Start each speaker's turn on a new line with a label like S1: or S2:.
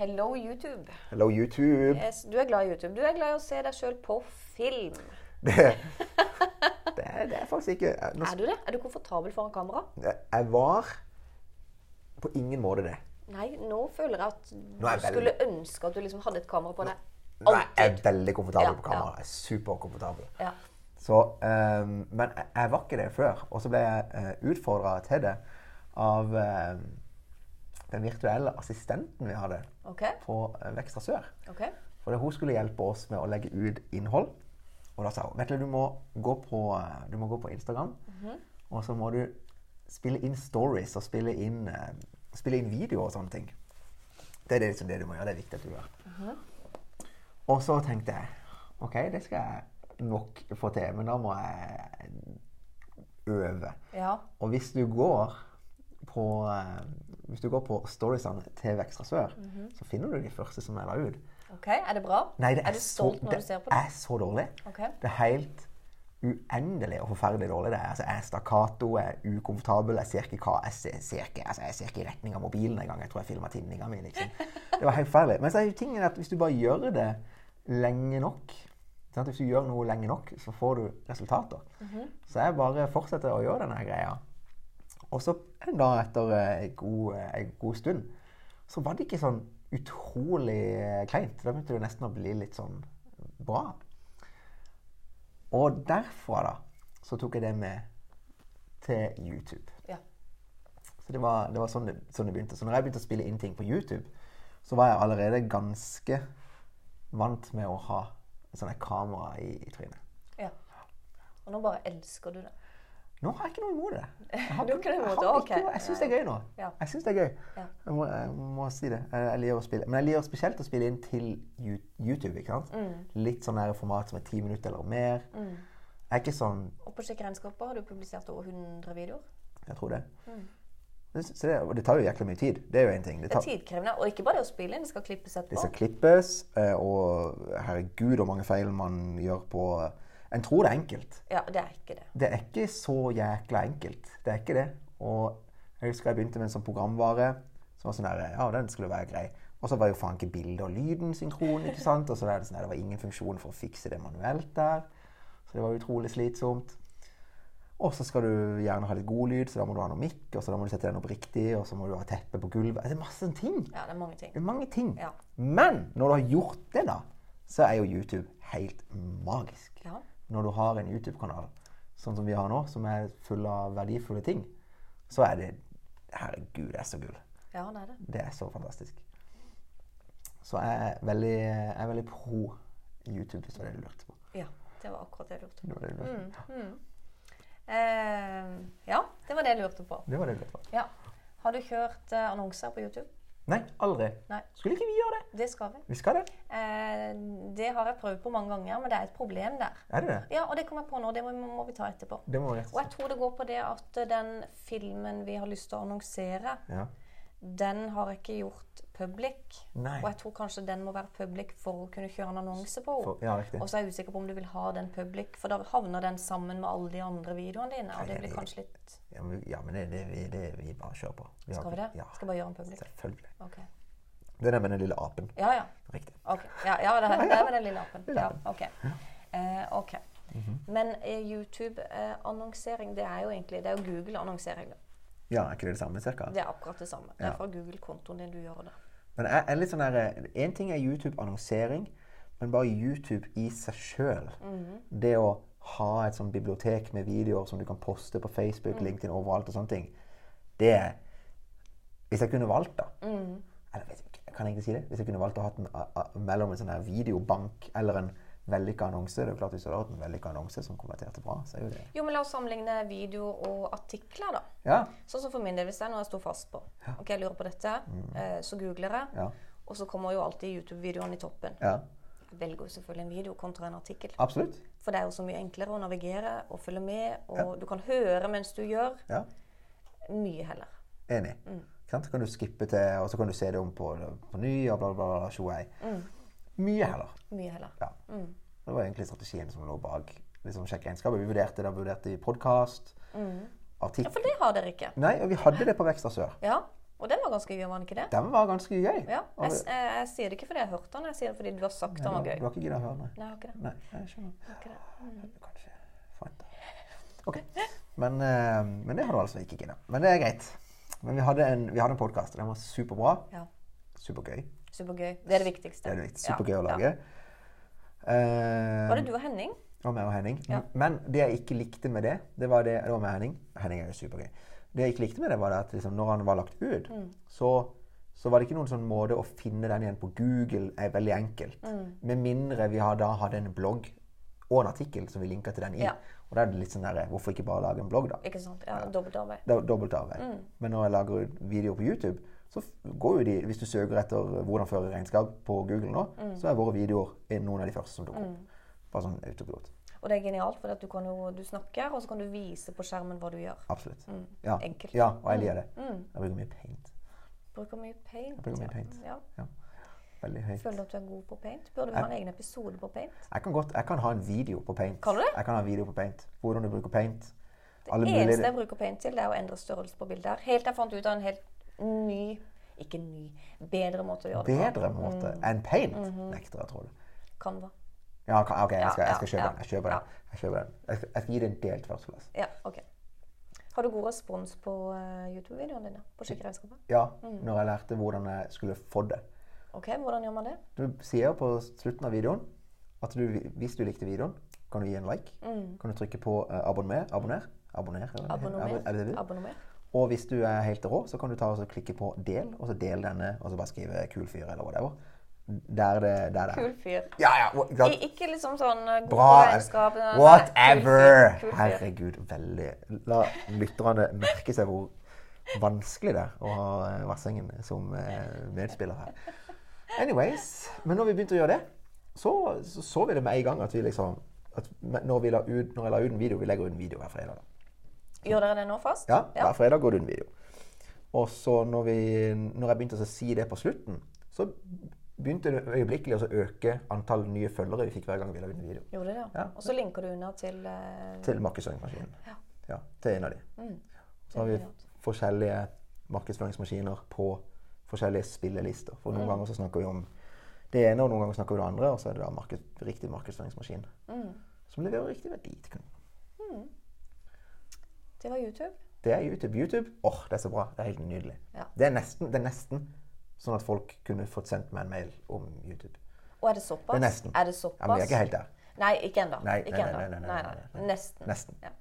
S1: Hello, YouTube.
S2: Hello, YouTube.
S1: Yes, Du er glad i YouTube. Du er glad i å se deg sjøl på film.
S2: Det, det, er, det er faktisk ikke jeg- nå,
S1: Er du det? Er du komfortabel foran kamera?
S2: Jeg var på ingen måte det.
S1: Nei, nå føler jeg at du
S2: er jeg veldig-
S1: skulle ønske at du liksom hadde et kamera på deg.
S2: Nå er jeg
S1: Alltid.
S2: veldig komfortabel
S1: Ja,
S2: på kamera. Jeg er Superkomfortabel.
S1: Ja.
S2: Så, eh, men jeg, jeg var ikke det før, og så ble jeg uh, utfordra til det av eh, den virtuelle assistenten vi hadde
S1: Ok.
S2: på eh, Vekstra Sør.
S1: ok.
S2: For det, hun skulle hjelpe oss med å legge ut innhold. Og da sa hun Vetle, du, må gå på, eh, du må gå på Instagram, og så må du spille inn stories og spille inn, eh, spille inn videoer og sånne ting. Det er det, liksom det du må gjøre. Det er viktig at du gjør. Og så tenkte jeg OK, det skal jeg nok få til, men da må jeg øve.
S1: Ja.
S2: Og hvis du går på, eh, hvis du går på storiesene til Vekstra Sør, så finner du de første som jeg la ut.
S1: Ok, Er det bra?
S2: Nei, det er,
S1: du stolt
S2: så,
S1: når
S2: det
S1: du ser på det?
S2: er så dårlig.
S1: Ok.
S2: Det er helt uendelig og forferdelig dårlig. Det er. Altså, jeg er stakkato, jeg er ukomfortabel, jeg ser ikke hva jeg ser, ser ikke, altså, jeg ser ikke i retning av mobilen engang. Jeg tror jeg filma tinninga mi. Liksom. Det var helt forferdelig. Men så er jo tingen at hvis du bare gjør det lenge nok sant? Hvis du gjør noe lenge nok, så får du resultater. Så jeg bare fortsetter å gjøre denne greia. Og så en dag etter eh, en god, eh, en god stund, så var det ikke sånn utrolig eh, kleint. Da begynte det nesten å bli litt sånn bra. Og derfra da, så tok jeg det med til YouTube.
S1: Ja.
S2: Så det var, det var sånn, det, sånn det begynte. Så når jeg begynte å spille inn ting på YouTube, så var jeg allerede ganske vant med å ha sånne kamera i, i trynet.
S1: ja. Og nå bare elsker du det.
S2: Nå har jeg ikke noe imot det. Jeg har
S1: Du har ikke noe
S2: jeg
S1: imot det,
S2: har
S1: ok.
S2: ikke noe- Jeg syns det er gøy nå.
S1: Ja.
S2: Jeg synes det er gøy.
S1: Ja.
S2: Jeg, må, jeg må si det. Jeg, jeg liker å spille. Men jeg liker spesielt å spille inn til Yu- YouTube. ikke sant?
S1: Mm.
S2: Litt sånn her format som er ti minutter eller mer. Jeg er ikke sånn
S1: Og på Sjekk regnskaper har du publisert over 100 videoer.
S2: Jeg tror det. Det- Så det, og det tar jo jækla mye tid. Det er jo én ting. Det,
S1: Det
S2: tar,
S1: er tidkrevende. Og ikke bare det å spille inn, det skal klippes
S2: det
S1: etterpå.
S2: skal klippes, eh, og herregud hvor mange feil man gjør på eh, En tror det er enkelt.
S1: Ja, det er ikke det.
S2: det er ikke så jækla enkelt. Det er ikke det. Og jeg husker jeg begynte med en sånn programvare som var sånn der, ja, den skulle være grei. Og så var jo faen ikke bildet og lyden synkron, ikke sant? Og så er det sånn der, det var ingen funksjon for å fikse det manuelt der. Så det var utrolig slitsomt. Og så skal du gjerne ha litt god lyd, så da må du ha noe mikk, og så da må du sette deg opp riktig, og så må du ha teppe på gulvet. Altså, Det er masse sånne ting.
S1: Ja, det er mange ting.
S2: Det er mange ting.
S1: Ja.
S2: Men når du har gjort det da, så er jo YouTube helt magisk
S1: Ja.
S2: når du har en YouTube-kanal sånn som vi har nå, som er full av verdifulle ting, så er det Herregud, det er så gull.
S1: Ja, det er det.
S2: Det er så fantastisk. Så jeg er veldig, jeg er veldig pro YouTube, hvis det var det du lurte på.
S1: Ja, det var akkurat det jeg lurte på.
S2: Det var det du
S1: Mm.
S2: lurte på.
S1: Eh, ja, det var det jeg lurte på.
S2: Det var det du lurte på.
S1: Ja. Har du kjørt eh, annonser på YouTube?
S2: Nei, aldri.
S1: Nei.
S2: Skulle ikke vi gjøre det?
S1: Det skal vi.
S2: Vi skal det.
S1: Eh, det har jeg prøvd på mange ganger, men det er et problem der.
S2: Er det det?
S1: Ja, og det kom jeg på nå. Det må, må vi ta etterpå.
S2: Det må vi
S1: Og jeg tror det går på det at eh, den filmen vi har lyst til å annonsere,
S2: Ja.
S1: den har jeg ikke gjort public.
S2: Nei.
S1: Og jeg tror kanskje den må være public for å kunne kjøre en annonse på henne.
S2: For, ja, riktig.
S1: Og så er jeg usikker på om du vil ha den public, for da havner den sammen med alle de andre videoene dine. Og det blir kanskje litt
S2: Ja, men, ja, men det, det, vi- det vi bare kjører på. Vi har
S1: Skal vi det?
S2: ikke- Ja,
S1: Skal bare gjøre den public?
S2: selvfølgelig.
S1: Ok.
S2: Det der med den lille apen.
S1: Ja, ja.
S2: Riktig.
S1: Ok. Ja, ja det, det er med den lille appen.
S2: Lille
S1: Ja,
S2: appen.
S1: ok. Eh, ok.
S2: Mhm.
S1: Men eh, YouTube-annonsering, det er jo egentlig det er jo Google-annonsering. da.
S2: Ja, er ikke det det samme, cirka?
S1: Det er akkurat det samme. Det
S2: Ja.
S1: er fra Google-kontoen din du gjør det.
S2: Men jeg er litt sånn der, En ting er YouTube-annonsering, men bare YouTube i seg sjøl. Det å ha et sånt bibliotek med videoer som du kan poste på Facebook, LinkedIn, overalt og sånne ting. Det er Hvis jeg kunne valgt, da Eller vet ikke, kan jeg ikke si det? Hvis jeg kunne valgt å ha den a- a- mellom en sånn her videobank eller en vellykka annonse Det er jo klart Hvis du hadde hatt en vellykka annonse som konverterte bra, så er jo det
S1: Jo, men la oss sammenligne videoer og artikler, da.
S2: Ja.
S1: Sånn som for min del, hvis det er noe jeg står fast på. Ok, jeg lurer på dette, eh, så googler jeg.
S2: Mm. Ja.
S1: Og så kommer jo alltid YouTube-videoene i toppen.
S2: ja.
S1: Jeg velger jo selvfølgelig en video kontra en artikkel.
S2: Absolutt.
S1: For det er jo så mye enklere å navigere og følge med, og du kan høre mens du gjør.
S2: Ja.
S1: Mye heller.
S2: Enig.
S1: Mm.
S2: Ikke sant? Så kan du skippe til, og så kan du se det om på, på ny, og bla, bla, bla. tjoei.
S1: Mm.
S2: Mye heller.
S1: Mye heller.
S2: Ja.
S1: Mm.
S2: Det var egentlig strategien som lå bak liksom, Sjekk regnskapet. Vi vurderte, da vurderte vi podkast,
S1: Ja,
S2: artikkel
S1: for det har dere ikke.
S2: Nei, og vi hadde det på Vekstra Sør.
S1: Ja, Og den var ganske gøy, var den ikke det?
S2: Den var ganske gøy.
S1: Ja.
S2: Og-
S1: Jeg, s- jeg, jeg sier det ikke fordi jeg hørte den, jeg sier det fordi du har sagt den
S2: Nei,
S1: var
S2: du har-
S1: gøy.
S2: Du har ikke giddet å høre, nei.
S1: Nei, jeg har ikke det.
S2: Nei, jeg skjønner.
S1: Jeg har ikke det.
S2: Kanskje. Fant det. Ok. Men, eh, men det har du altså ikke giddet. Men det er greit. Men vi hadde en, vi hadde en podkast, og den var superbra.
S1: Ja.
S2: Supergøy.
S1: Supergøy. Det er det viktigste.
S2: Det er litt
S1: Ja,
S2: supergøy
S1: ja.
S2: å lage. Eh,
S1: Var det du og Henning?
S2: Det var meg og Henning.
S1: Ja.
S2: Men det jeg ikke likte med det, det var det, det var med Henning. Henning er jo supergøy. Det jeg ikke likte med det, var det at liksom, når han var lagt ut,
S1: Mm.
S2: så, så var det ikke noen sånn måte å finne den igjen på Google er veldig enkelt.
S1: Mm.
S2: Med mindre vi har, da hadde en blogg og en artikkel som vi linka til den i.
S1: Ja.
S2: Og da er det litt sånn der, hvorfor ikke bare lage en blogg, da?
S1: Ikke sant? Ja, Dobbeltarbeid.
S2: Det er jo dobbelt arbeid.
S1: Mm.
S2: Men når jeg lager ut videoer på YouTube, så f- går jo de, hvis du søker etter eh, hvordan føre regnskap på Google nå,
S1: Mm.
S2: så er våre videoer noen av de første som dukker opp. Bare sånn autopilot.
S1: Og det er genialt, for at du, kan jo, du snakker, og så kan du vise på skjermen hva du gjør.
S2: Absolutt. Ja.
S1: Mm. Enkelt. Mm.
S2: ja, og jeg liker det. Jeg bruker mye paint.
S1: Bruker mye paint.
S2: bruker
S1: ja.
S2: mye paint.
S1: Ja.
S2: Ja. Veldig høyt.
S1: Føler du at du er god på paint? Burde vi ha en egen episode på paint?
S2: Jeg kan, godt, jeg kan ha en video på paint.
S1: Kan du det?
S2: Jeg kan ha en video på paint. Hvordan du bruker paint.
S1: Det eneste jeg bruker paint til, det er å endre størrelse på bildet. her. Helt til jeg fant ut av en helt ny Ikke ny, bedre måte å gjøre det
S2: bedre måte
S1: Mm.
S2: enn paint, nekter jeg, tror du.
S1: på. Canva.
S2: Ja, ka- OK, jeg skal,
S1: Mm-hmm. ja,
S2: jeg skal kjøpe
S1: ja,
S2: den. Jeg kjøper
S1: ja.
S2: den. Jeg, kjøper den. Jeg, skal, jeg skal gi det en delt førsteplass.
S1: Ja, ok. Har du god respons på eh, YouTube-videoene dine? På Sjekkeregnskapet?
S2: Ja, når jeg lærte hvordan jeg skulle få det.
S1: Ok, hvordan gjør man det?
S2: Du sier på slutten av videoen at du, hvis du likte videoen, kan du gi en like. Kan du trykke på eh, abonner. Abonner? abonner eller-
S1: Abonnomer?
S2: Abon- abonner.
S1: Abonnomer?
S2: Og hvis du er helt rå, så kan du ta og så klikke på del, og så del denne, og så bare skrive 'kul fyr' eller whatever. Der det der det er.
S1: Kul fyr.
S2: Ja, ja, hva- ikke
S1: I,
S2: sant?
S1: ikke liksom sånn eh, god
S2: Bra.
S1: på regnskap nei, nei,
S2: Whatever!
S1: Kul fyr. Kul fyr.
S2: Herregud, veldig La lytterne merke seg hvor vanskelig det er å ha eh, Vassengen som eh, medspiller her. Anyways, men når vi begynte å gjøre det, så så, så vi det med en gang at vi liksom at når, vi la ut, når jeg la ut en video Vi legger ut en video hver fredag. da.
S1: Gjør dere det nå fast?
S2: Ja, hver fredag går det en video. Og så når, vi, når jeg begynte å si det på slutten, så begynte det øyeblikkelig å øke antall nye følgere vi fikk hver gang vi la ut en video.
S1: Gjorde det, ja.
S2: Ja.
S1: Og så linker du unna til eh,
S2: Til markedsføringsmaskinen.
S1: Ja. Mm.
S2: Ja, til en av de. Så har vi forskjellige markedsføringsmaskiner på forskjellige spillelister. For
S1: Mm.
S2: noen ganger så snakker vi om det ene, og noen ganger snakker vi om det andre, og så er det da marked, riktig markedsføringsmaskin.
S1: Mm.
S2: Som leverer riktig verdi til kunden.
S1: Det var YouTube.
S2: Det er YouTube. YouTube, åh, det er så bra. Det er helt nydelig.
S1: Ja.
S2: Det, er nesten, det er nesten sånn at folk kunne fått sendt meg en mail om YouTube.
S1: Og er det såpass?
S2: Det er nesten.
S1: det såpass?
S2: Ja, men vi er ikke helt der.
S1: Nei, ikke ennå.
S2: Nei,
S1: Ikke
S2: nei, nei,
S1: ennå.
S2: nei, nei, nei, nei, nei.
S1: Nesten.
S2: Nesten.
S1: Ja.